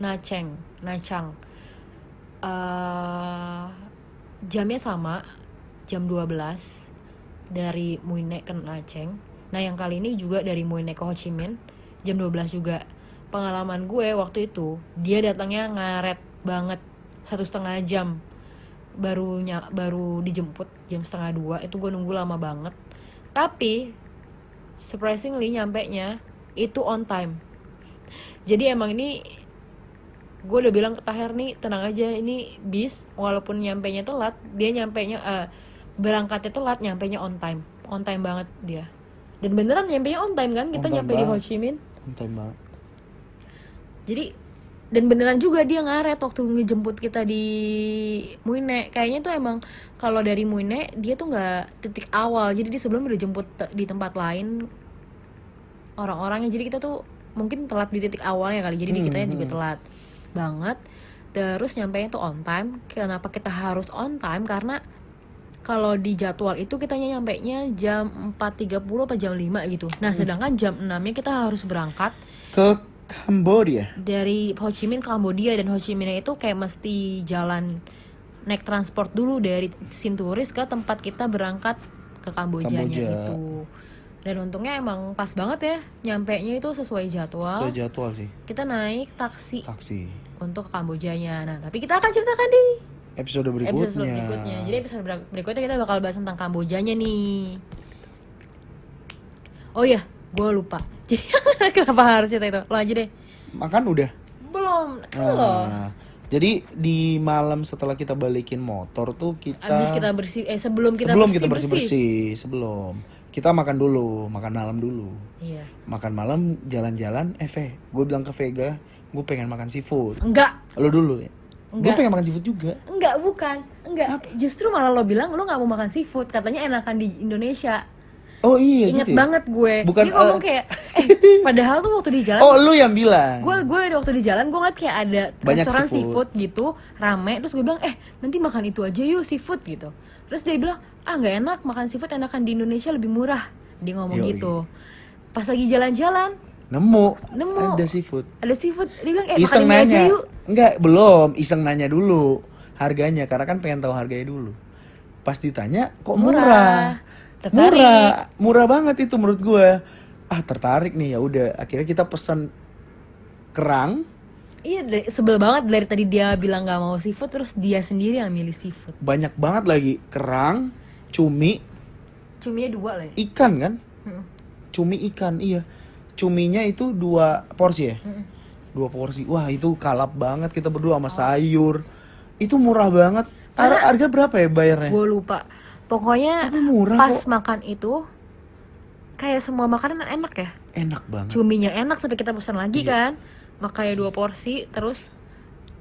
[SPEAKER 1] Nacheng Nachang Eh, jamnya sama jam 12 dari Muine ke Nacheng nah yang kali ini juga dari Muine ke Ho Chi Minh jam 12 juga pengalaman gue waktu itu dia datangnya ngaret banget satu setengah jam barunya baru dijemput jam setengah dua itu gue nunggu lama banget tapi surprisingly nyampe nya itu on time jadi emang ini gue udah bilang ke Tahir nih tenang aja ini bis walaupun nyampe nya telat dia nyampe nya berangkatnya telat nyampe nya on time on time banget dia dan beneran nyampe nya on time kan kita
[SPEAKER 2] On time
[SPEAKER 1] nyampe di Ho
[SPEAKER 2] banget.
[SPEAKER 1] Chi Minh
[SPEAKER 2] Konten banget
[SPEAKER 1] jadi dan beneran juga dia ngaret waktu ngejemput kita di Muine kayaknya tuh emang kalau dari Muine dia tuh nggak titik awal jadi dia sebelum udah jemput te- di tempat lain orang-orangnya jadi kita tuh mungkin telat di titik awalnya kali jadi di
[SPEAKER 2] Hmm,
[SPEAKER 1] kita juga
[SPEAKER 2] hmm.
[SPEAKER 1] telat banget terus nyampe tuh on time kenapa kita harus on time karena kalau di jadwal itu kita nyampe jam 4.30 apa jam 5 gitu nah
[SPEAKER 2] Hmm.
[SPEAKER 1] sedangkan jam 6-nya kita harus berangkat
[SPEAKER 2] Ke Cambodia
[SPEAKER 1] dari Ho Chi Minh ke Kambodia dan Ho Chi Minh itu kayak mesti jalan naik transport dulu dari Sinturis ke tempat kita berangkat ke Kambojanya
[SPEAKER 2] Kamboja.
[SPEAKER 1] itu. Dan untungnya emang pas banget ya, nyampe nya itu sesuai jadwal.
[SPEAKER 2] Sejadwal sih
[SPEAKER 1] Kita naik taksi
[SPEAKER 2] Taksi
[SPEAKER 1] untuk ke Kambojanya. Nah, tapi kita akan ceritakan di
[SPEAKER 2] Episode
[SPEAKER 1] episode
[SPEAKER 2] berikutnya
[SPEAKER 1] berikutnya. Jadi episode ber- berikutnya kita bakal bahas tentang Kambojanya nih. Oh iya, gue lupa. Jadi kenapa harus cerita itu? Lo aja deh.
[SPEAKER 2] Makan udah
[SPEAKER 1] Belum, kan lo.
[SPEAKER 2] Nah, Jadi di malam setelah kita balikin motor tuh kita
[SPEAKER 1] Abis kita bersih, eh sebelum kita
[SPEAKER 2] Sebelum
[SPEAKER 1] bersih,
[SPEAKER 2] kita bersih-bersih Sebelum Kita makan dulu Makan malam dulu
[SPEAKER 1] Iya.
[SPEAKER 2] makan malam jalan-jalan eh Ve gue bilang ke Vega gue pengen makan seafood
[SPEAKER 1] Enggak,
[SPEAKER 2] lo dulu ya gue
[SPEAKER 1] Enggak.
[SPEAKER 2] pengen makan seafood juga
[SPEAKER 1] enggak bukan, enggak. Justru malah lo bilang lo nggak mau makan seafood, katanya enakan di Indonesia.
[SPEAKER 2] oh iya
[SPEAKER 1] Ingat
[SPEAKER 2] gitu ya?
[SPEAKER 1] banget gue.
[SPEAKER 2] Bukan,
[SPEAKER 1] Dia ngomong
[SPEAKER 2] eh,
[SPEAKER 1] kayak, eh padahal tuh waktu di jalan,
[SPEAKER 2] oh lu yang bilang
[SPEAKER 1] gue gue waktu di jalan gue ngeliat kayak ada
[SPEAKER 2] Banyak
[SPEAKER 1] restoran
[SPEAKER 2] seafood.
[SPEAKER 1] seafood. gitu, rame. Terus gue bilang, eh nanti makan itu aja yuk seafood gitu. Terus dia bilang, ah nggak enak makan seafood enakan di Indonesia lebih murah. Dia ngomong
[SPEAKER 2] Yoi.
[SPEAKER 1] gitu. Pas lagi jalan-jalan
[SPEAKER 2] nemu
[SPEAKER 1] Nemu.
[SPEAKER 2] ada seafood
[SPEAKER 1] ada seafood, dia bilang, eh makan
[SPEAKER 2] iseng
[SPEAKER 1] ini aja
[SPEAKER 2] nanya
[SPEAKER 1] yuk.
[SPEAKER 2] enggak belum iseng nanya dulu harganya karena kan pengen tahu harganya dulu pas ditanya kok murah
[SPEAKER 1] Murah. Tertarik.
[SPEAKER 2] murah murah banget itu menurut gue ah tertarik nih ya udah akhirnya kita pesan kerang
[SPEAKER 1] Iya, dari- sebel banget dari tadi dia bilang nggak mau seafood, terus dia sendiri yang milih seafood.
[SPEAKER 2] banyak banget lagi kerang cumi
[SPEAKER 1] Cuminya dua lah ya.
[SPEAKER 2] ikan kan
[SPEAKER 1] Mm-mm.
[SPEAKER 2] cumi ikan iya cuminya itu dua porsi ya
[SPEAKER 1] Hmm.
[SPEAKER 2] dua porsi wah itu kalap banget kita berdua sama sayur itu murah banget Tar- harga berapa ya bayarnya
[SPEAKER 1] Gue lupa. Pokoknya
[SPEAKER 2] Tapi murah
[SPEAKER 1] pas
[SPEAKER 2] kok.
[SPEAKER 1] makan itu kayak semua makanan enak ya.
[SPEAKER 2] enak banget
[SPEAKER 1] Cuminya enak sampai kita pesan lagi
[SPEAKER 2] Iya.
[SPEAKER 1] kan. Makanya dua porsi terus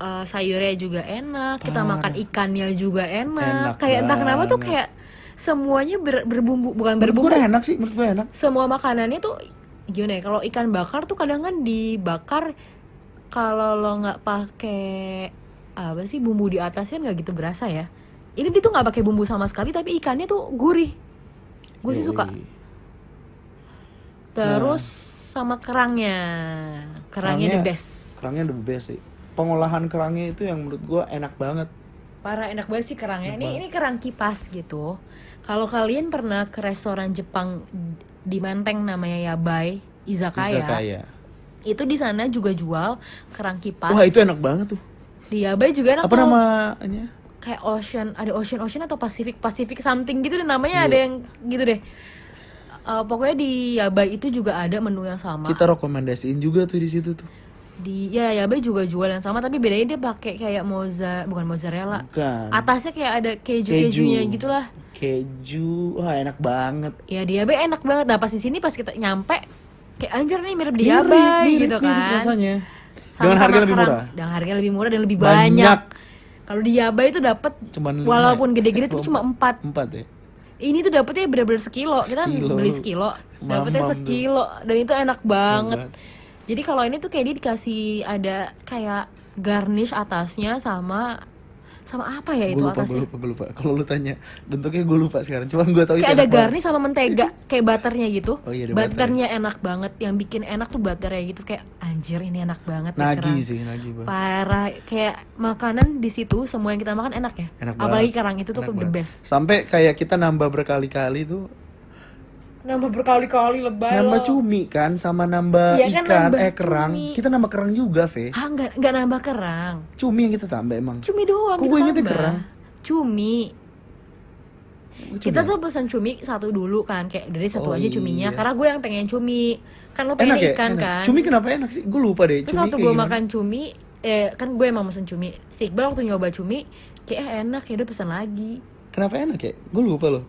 [SPEAKER 1] eh, sayurnya juga enak, kita
[SPEAKER 2] Parah.
[SPEAKER 1] makan ikannya juga enak.
[SPEAKER 2] Enak
[SPEAKER 1] kayak entah kenapa tuh
[SPEAKER 2] banget.
[SPEAKER 1] kayak semuanya ber- berbumbu bukan
[SPEAKER 2] menurut
[SPEAKER 1] berbumbu.
[SPEAKER 2] gue enak sih menurut gue enak
[SPEAKER 1] Semua makanannya tuh gimana ya? Kalau ikan bakar tuh kadang kan dibakar kalau lo nggak pakai apa sih bumbu di atasnya nggak gitu berasa ya. Ini dia tuh nggak pakai bumbu sama sekali tapi ikannya tuh gurih. Gue sih
[SPEAKER 2] Yoi.
[SPEAKER 1] suka. Nah. Terus sama kerangnya. Kerangnya the
[SPEAKER 2] Kerangnya-
[SPEAKER 1] best.
[SPEAKER 2] kerangnya the best sih pengolahan kerangnya itu yang menurut gue enak banget
[SPEAKER 1] Parah enak banget sih kerangnya. Ini ini kerang kipas gitu. Kalau kalian pernah ke restoran Jepang di Menteng namanya Yabai Izakaya.
[SPEAKER 2] kaya
[SPEAKER 1] Itu di sana juga jual kerang kipas.
[SPEAKER 2] wah itu enak banget tuh
[SPEAKER 1] Di Yabai juga enak
[SPEAKER 2] apa
[SPEAKER 1] tuh.
[SPEAKER 2] namanya
[SPEAKER 1] Kayak Ocean, ada Ocean Ocean atau Pacific Pacific something gitu deh namanya
[SPEAKER 2] Iya.
[SPEAKER 1] ada yang gitu deh. Eh, pokoknya di Yabai itu juga ada menu yang sama.
[SPEAKER 2] kita rekomendasiin juga tuh di situ tuh
[SPEAKER 1] di ya Yabe juga jual yang sama tapi bedanya dia pakai kayak moza bukan mozzarella
[SPEAKER 2] bukan
[SPEAKER 1] atasnya kayak ada keju kejunya
[SPEAKER 2] Hmm. Keju.
[SPEAKER 1] gitulah
[SPEAKER 2] keju wah enak banget
[SPEAKER 1] ya di Yabe enak banget nah pas di sini pas kita nyampe kayak anjir nih mirip di
[SPEAKER 2] Mirip,
[SPEAKER 1] Yabe
[SPEAKER 2] mirip,
[SPEAKER 1] gitu
[SPEAKER 2] mirip
[SPEAKER 1] kan
[SPEAKER 2] rasanya
[SPEAKER 1] Sama-sama
[SPEAKER 2] dengan harga lebih
[SPEAKER 1] kerang.
[SPEAKER 2] murah
[SPEAKER 1] dengan harga lebih murah dan lebih
[SPEAKER 2] Banyak.
[SPEAKER 1] banyak, kalau di Yabe itu dapat
[SPEAKER 2] Cuman lima
[SPEAKER 1] walaupun
[SPEAKER 2] ya?
[SPEAKER 1] gede-gede tapi cuma empat
[SPEAKER 2] empat ya
[SPEAKER 1] ini tuh dapetnya bener-bener sekilo kita kan
[SPEAKER 2] Sekilo.
[SPEAKER 1] beli sekilo dapetnya
[SPEAKER 2] Mamam tuh.
[SPEAKER 1] sekilo dan itu enak banget
[SPEAKER 2] Enak
[SPEAKER 1] jadi kalau ini tuh kayak dia dikasih ada kayak garnish atasnya sama sama apa ya
[SPEAKER 2] gue
[SPEAKER 1] itu
[SPEAKER 2] lupa gue
[SPEAKER 1] atasnya
[SPEAKER 2] lupa gue lupa kalau lu tanya bentuknya gue lupa sekarang cuman gue tahu
[SPEAKER 1] kayak ada
[SPEAKER 2] itu Oh, iya, enak banget.
[SPEAKER 1] garnish sama mentega kayak butternya gitu
[SPEAKER 2] Oh iya, ada
[SPEAKER 1] butternya enak banget yang bikin enak tuh butternya gitu kayak anjir ini enak banget nih
[SPEAKER 2] nagi
[SPEAKER 1] kerang."
[SPEAKER 2] sih nagi banget
[SPEAKER 1] parah kayak makanan di situ semua yang kita makan enak ya
[SPEAKER 2] enak banget
[SPEAKER 1] apalagi kerang itu tuh
[SPEAKER 2] Enak
[SPEAKER 1] the
[SPEAKER 2] banget.
[SPEAKER 1] best
[SPEAKER 2] sampai kayak kita nambah berkali-kali tuh
[SPEAKER 1] nambah berkali-kali lebay loh.
[SPEAKER 2] nambah cumi kan sama nambah
[SPEAKER 1] Iya kan,
[SPEAKER 2] ikan
[SPEAKER 1] nambah
[SPEAKER 2] eh kerang
[SPEAKER 1] cumi.
[SPEAKER 2] kita nambah kerang juga ve
[SPEAKER 1] ah nggak nggak nambah kerang
[SPEAKER 2] cumi yang kita tambah emang
[SPEAKER 1] Cumi doang
[SPEAKER 2] Kok
[SPEAKER 1] kita
[SPEAKER 2] gue ingetnya
[SPEAKER 1] tambah.
[SPEAKER 2] kerang?
[SPEAKER 1] Cumi.
[SPEAKER 2] Cumi.
[SPEAKER 1] Kita tuh pesan cumi satu dulu kan kayak dari satu
[SPEAKER 2] Oh,
[SPEAKER 1] aja cuminya
[SPEAKER 2] iya.
[SPEAKER 1] karena gue yang pengen cumi. Kan lo
[SPEAKER 2] enak
[SPEAKER 1] pengen
[SPEAKER 2] ya
[SPEAKER 1] ikan
[SPEAKER 2] enak.
[SPEAKER 1] kan.
[SPEAKER 2] cumi kenapa enak sih gue lupa deh
[SPEAKER 1] Terus
[SPEAKER 2] cumi
[SPEAKER 1] waktu
[SPEAKER 2] kayak
[SPEAKER 1] gue
[SPEAKER 2] gimana.
[SPEAKER 1] makan cumi eh kan gue emang pesen cumi. Si Iqbal waktu nyoba cumi kayak eh, enak ya udah pesan lagi.
[SPEAKER 2] kenapa enak ya gue lupa loh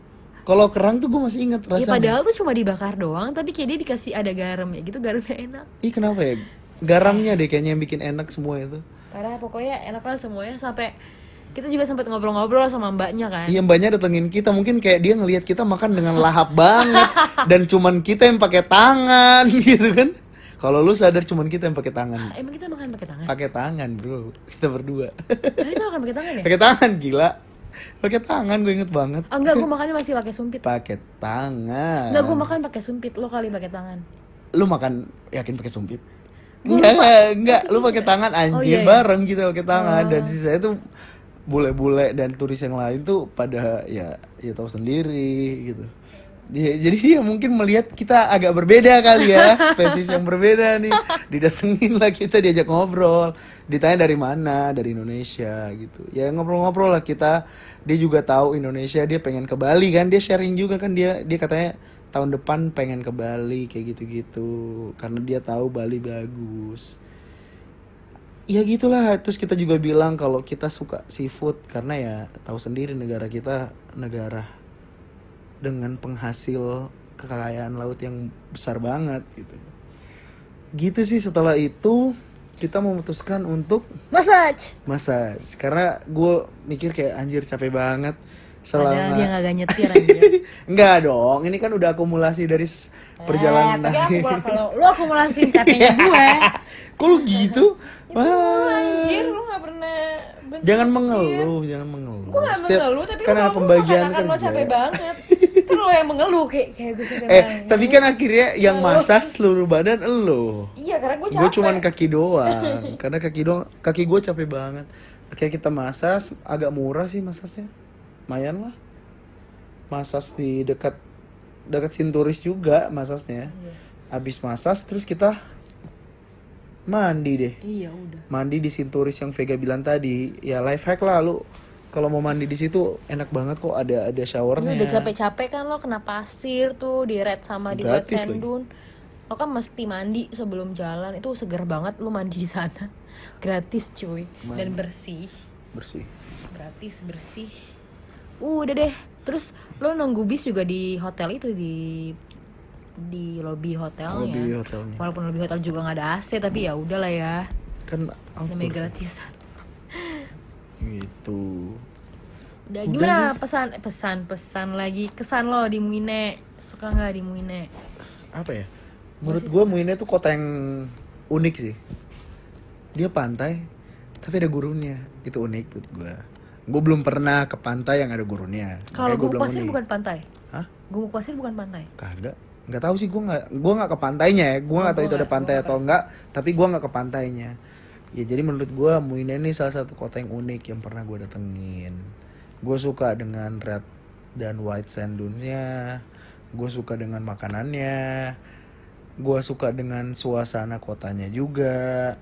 [SPEAKER 2] kalau kerang tuh gue masih inget
[SPEAKER 1] Ya
[SPEAKER 2] rasanya
[SPEAKER 1] padahal tuh cuma dibakar doang tapi kayak dia dikasih ada garam ya gitu garamnya enak.
[SPEAKER 2] Ih kenapa ya? Garamnya deh kayaknya yang bikin enak semua itu.
[SPEAKER 1] Parah pokoknya enak lah semuanya sampai kita juga sempat ngobrol-ngobrol sama mbaknya kan.
[SPEAKER 2] Iya mbaknya datengin kita mungkin kayak dia ngelihat kita makan dengan lahap banget dan cuman kita yang pakai tangan gitu kan. Kalau lu sadar cuman kita yang pakai tangan.
[SPEAKER 1] Ah, Emang kita makan pakai tangan?
[SPEAKER 2] Pakai tangan, Bro. Kita berdua.
[SPEAKER 1] Nah, kita makan pakai tangan ya?
[SPEAKER 2] pakai tangan gila. Pakai tangan gue inget banget.
[SPEAKER 1] Oh, enggak, gue makannya masih pakai sumpit.
[SPEAKER 2] Pakai tangan.
[SPEAKER 1] Enggak, gue makan pakai sumpit, lo kali pakai tangan.
[SPEAKER 2] Lu makan yakin pakai sumpit?
[SPEAKER 1] Gua
[SPEAKER 2] Enggak, enggak. Lu pakai tangan
[SPEAKER 1] iya, iya.
[SPEAKER 2] anjir bareng kita pakai tangan dan sisanya tuh bule-bule dan turis yang lain tuh pada ya ya tahu sendiri gitu. Dia- jadi dia mungkin melihat kita agak berbeda kali ya, spesies yang berbeda nih. Didatengin lah kita diajak ngobrol, ditanya dari mana, dari Indonesia gitu. Ya ngobrol-ngobrol lah kita. Dia juga tahu Indonesia, dia pengen ke Bali kan, dia sharing juga kan dia dia katanya tahun depan pengen ke Bali kayak gitu-gitu karena dia tahu Bali bagus ya gitulah terus kita juga bilang kalau kita suka seafood karena ya tahu sendiri negara kita negara dengan penghasil kekayaan laut yang besar banget gitu gitu sih setelah itu kita memutuskan untuk
[SPEAKER 1] Massage.
[SPEAKER 2] massage karena gue mikir kayak anjir capek banget
[SPEAKER 1] Padahal dia
[SPEAKER 2] selama
[SPEAKER 1] kagak nyetir anjir.
[SPEAKER 2] enggak dong ini kan udah akumulasi dari s- perjalanan
[SPEAKER 1] Eh, tapi aku kalau- kalau lo akumulasi capeknya gue,
[SPEAKER 2] Kok lu gitu? Wah.
[SPEAKER 1] anjir lo gak pernah benci.
[SPEAKER 2] Jangan mengeluh, jangan mengeluh.
[SPEAKER 1] Gue gak mengeluh, tapi
[SPEAKER 2] kan
[SPEAKER 1] lo
[SPEAKER 2] ada
[SPEAKER 1] ngomong
[SPEAKER 2] pembagian
[SPEAKER 1] seakan-akan
[SPEAKER 2] kerja.
[SPEAKER 1] lo capek banget. kan lo yang mengeluh kayak kayak gue capek
[SPEAKER 2] Eh,
[SPEAKER 1] banget.
[SPEAKER 2] tapi kan akhirnya yang masak seluruh badan elo.
[SPEAKER 1] Iya, karena gue capek.
[SPEAKER 2] Gue cuman kaki doang, karena kaki doang, kaki gue capek banget. Oke kita masas, agak murah sih masasnya, lumayan lah. Masas di dekat dekat Sinturis juga masasnya. Abis masas terus kita mandi deh.
[SPEAKER 1] Iya, udah.
[SPEAKER 2] mandi di sinturis yang Vega bilang tadi ya life hack lah lu kalau mau mandi di situ enak banget kok ada ada
[SPEAKER 1] Lu
[SPEAKER 2] showernya.
[SPEAKER 1] Iya, udah capek-capek kan lo kena pasir tuh deret sama di wet
[SPEAKER 2] Gratis lagi.
[SPEAKER 1] sandun. Lo kan mesti mandi sebelum jalan. Itu seger banget lu mandi di sana. Gratis cuy dan bersih.
[SPEAKER 2] Bersih.
[SPEAKER 1] Gratis bersih. Uh, udah deh. Terus lo nunggu bis juga di hotel itu di di lobi hotelnya.
[SPEAKER 2] Lobi hotelnya.
[SPEAKER 1] Walaupun lobi hotel juga nggak ada AC tapi ya udahlah ya.
[SPEAKER 2] Kan outdoor.
[SPEAKER 1] Namanya gratisan.
[SPEAKER 2] gitu.
[SPEAKER 1] Udah gimana pesan eh, pesan pesan lagi kesan lo di Muine suka nggak di Muine?
[SPEAKER 2] Apa ya? Menurut gue Muine tuh kota yang unik sih. Dia pantai tapi ada gurunnya. Itu unik buat gue. Gue belum pernah ke pantai yang ada gurunnya.
[SPEAKER 1] Kalau
[SPEAKER 2] gue
[SPEAKER 1] gubuk pasir bukan pantai.
[SPEAKER 2] Hah?
[SPEAKER 1] Gubuk pasir bukan pantai.
[SPEAKER 2] Kagak. Nggak tahu sih gue nggak gue nggak ke pantainya ya. Gue nggak tahu itu ada pantai atau enggak, tapi gue nggak ke pantainya. Ya jadi menurut gue Muine ini salah satu kota yang unik yang pernah gue datengin. Gue suka dengan red dan white sand dune-nya. Gue suka dengan makanannya. Gue suka dengan suasana kotanya juga.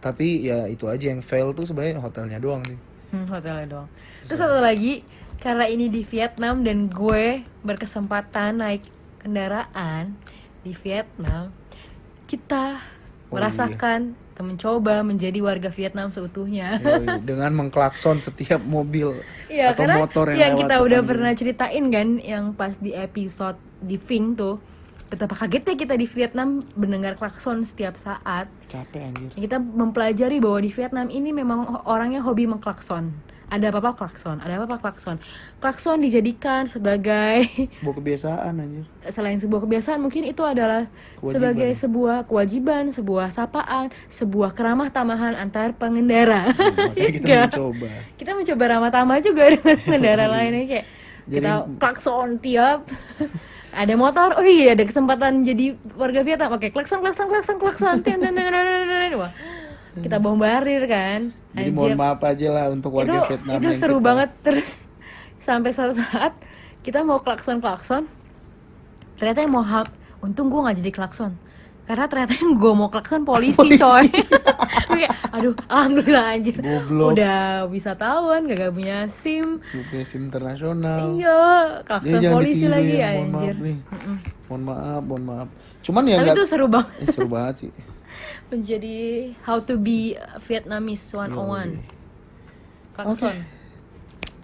[SPEAKER 2] Tapi ya itu aja yang fail tuh sebenarnya hotelnya doang sih.
[SPEAKER 1] Hmm, hotelnya doang. Terus satu lagi karena ini di Vietnam dan gue berkesempatan naik kendaraan di Vietnam, kita
[SPEAKER 2] Oh,
[SPEAKER 1] merasakan atau mencoba menjadi warga Vietnam seutuhnya.
[SPEAKER 2] Yoi, dengan mengklakson setiap mobil
[SPEAKER 1] Iya
[SPEAKER 2] atau
[SPEAKER 1] karena
[SPEAKER 2] motor yang,
[SPEAKER 1] yang
[SPEAKER 2] lewat
[SPEAKER 1] kita udah
[SPEAKER 2] depan gitu.
[SPEAKER 1] pernah ceritain kan yang pas di episode di Ving tuh betapa kagetnya kita di Vietnam mendengar klakson setiap saat.
[SPEAKER 2] capek anjir.
[SPEAKER 1] Kita mempelajari bahwa di Vietnam ini memang ho- orangnya hobi mengklakson. Ada apa-apa klakson, ada apa-apa klakson. Klakson dijadikan sebagai
[SPEAKER 2] Sebuah kebiasaan anjir.
[SPEAKER 1] selain sebuah kebiasaan mungkin itu adalah
[SPEAKER 2] Kewajiban.
[SPEAKER 1] sebagai sebuah kewajiban, sebuah sapaan, sebuah keramah tamahan antar pengendara.
[SPEAKER 2] Makanya kita
[SPEAKER 1] Iya.
[SPEAKER 2] mencoba.
[SPEAKER 1] kita mencoba ramah-tamah juga dengan pengendara lainnya kayak
[SPEAKER 2] Jadi-
[SPEAKER 1] kita klakson tiap ada motor, oh iya ada kesempatan jadi warga Vietnam, oke klakson klakson klakson klakson, ten, ten, ten, ten, ten, ten. Wah, kita bombardir kan,
[SPEAKER 2] Jadi mohon maaf aja lah untuk
[SPEAKER 1] itu
[SPEAKER 2] warga Vietnam
[SPEAKER 1] itu
[SPEAKER 2] yang
[SPEAKER 1] seru
[SPEAKER 2] kita-
[SPEAKER 1] banget terus sampai suatu saat kita mau klakson klakson, ternyata yang mau hap, untung gue nggak jadi klakson, karena ternyata yang gue mau klakson polisi,
[SPEAKER 2] Polisi.
[SPEAKER 1] coy, Gue kayak, aduh alhamdulillah anjir,
[SPEAKER 2] Goblok.
[SPEAKER 1] udah wisatawan gak punya sim,
[SPEAKER 2] Lu punya SIM internasional.
[SPEAKER 1] Iya,
[SPEAKER 2] Jadi
[SPEAKER 1] klakson
[SPEAKER 2] Ah. jangan
[SPEAKER 1] polisi
[SPEAKER 2] ditiru
[SPEAKER 1] lagi
[SPEAKER 2] ya, mohon
[SPEAKER 1] anjir.
[SPEAKER 2] maaf nih. Mohon maaf, mohon maaf. Cuman ya
[SPEAKER 1] Tapi
[SPEAKER 2] enggak
[SPEAKER 1] itu seru banget
[SPEAKER 2] seru banget sih.
[SPEAKER 1] menjadi how to be Vietnamese 101. Klakson.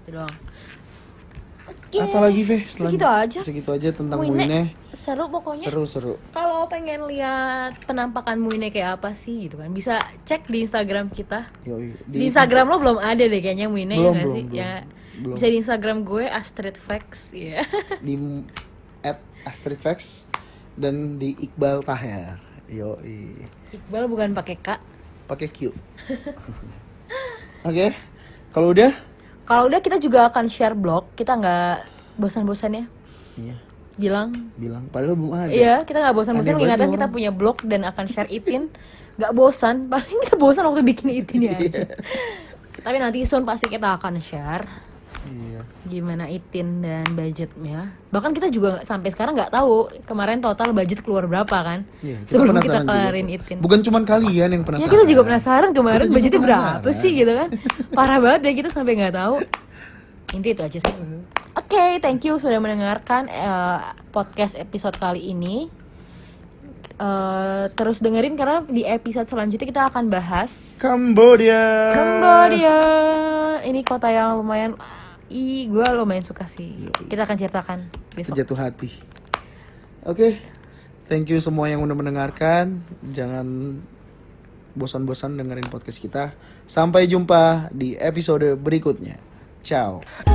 [SPEAKER 1] Itu doang. Oke.
[SPEAKER 2] Apalagi Ve, selan-
[SPEAKER 1] Iya, Segitu aja.
[SPEAKER 2] Segitu aja tentang
[SPEAKER 1] Muine.
[SPEAKER 2] Muine.
[SPEAKER 1] Seru pokoknya.
[SPEAKER 2] Seru-seru.
[SPEAKER 1] Kalau pengen lihat penampakan Muine kayak apa sih gitu kan, bisa cek di Instagram kita.
[SPEAKER 2] Yoi.
[SPEAKER 1] Di, Instagram lo belum ada deh kayaknya Muine ya
[SPEAKER 2] Belum,
[SPEAKER 1] nggak
[SPEAKER 2] belum,
[SPEAKER 1] sih?
[SPEAKER 2] belum.
[SPEAKER 1] Ya.
[SPEAKER 2] Belum.
[SPEAKER 1] Bisa di Instagram gue astridflex ya.
[SPEAKER 2] di at Astrid Vax dan di Iqbal Tahir. Yoi.
[SPEAKER 1] Iqbal bukan pakai K.
[SPEAKER 2] Pakai Q. Oke. Kalau udah?
[SPEAKER 1] Kalau udah kita juga akan share blog, kita nggak bosan-bosan ya
[SPEAKER 2] Iya.
[SPEAKER 1] bilang.
[SPEAKER 2] Bilang padahal belum ada.
[SPEAKER 1] Iya, kita nggak bosan-bosan
[SPEAKER 2] Aneh banget
[SPEAKER 1] mengingatkan
[SPEAKER 2] tuh
[SPEAKER 1] kita
[SPEAKER 2] orang.
[SPEAKER 1] punya blog dan akan share itin. Nggak bosan, paling kita bosan waktu bikin itin ya. aja. Tapi nanti soon pasti kita akan share
[SPEAKER 2] Iya.
[SPEAKER 1] gimana itin dan budgetnya. Bahkan kita juga nggak- sampai sekarang nggak tahu kemarin total budget keluar berapa kan?
[SPEAKER 2] Iya,
[SPEAKER 1] sebelum kita
[SPEAKER 2] penasaran juga.
[SPEAKER 1] kelarin itin.
[SPEAKER 2] Bukan cuman kalian yang
[SPEAKER 1] Ya
[SPEAKER 2] penasaran.
[SPEAKER 1] kita juga penasaran kemarin
[SPEAKER 2] Kita juga
[SPEAKER 1] budgetnya
[SPEAKER 2] penasaran.
[SPEAKER 1] berapa sih gitu kan Parah banget ya kita sampai nggak tahu Inti itu aja sih
[SPEAKER 2] Hmm.
[SPEAKER 1] Oke thank you sudah mendengarkan eh, podcast episode kali ini Eh, Terus dengerin karena di episode selanjutnya kita akan bahas
[SPEAKER 2] Kambodia.
[SPEAKER 1] Kambodia Ini kota yang lumayan Ih gue lumayan suka sih Kita akan ceritakan besok
[SPEAKER 2] Jatuh hati. Oke. Thank you semua yang udah mendengarkan. Jangan bosan-bosan dengerin podcast kita. Sampai jumpa di episode berikutnya. Ciao.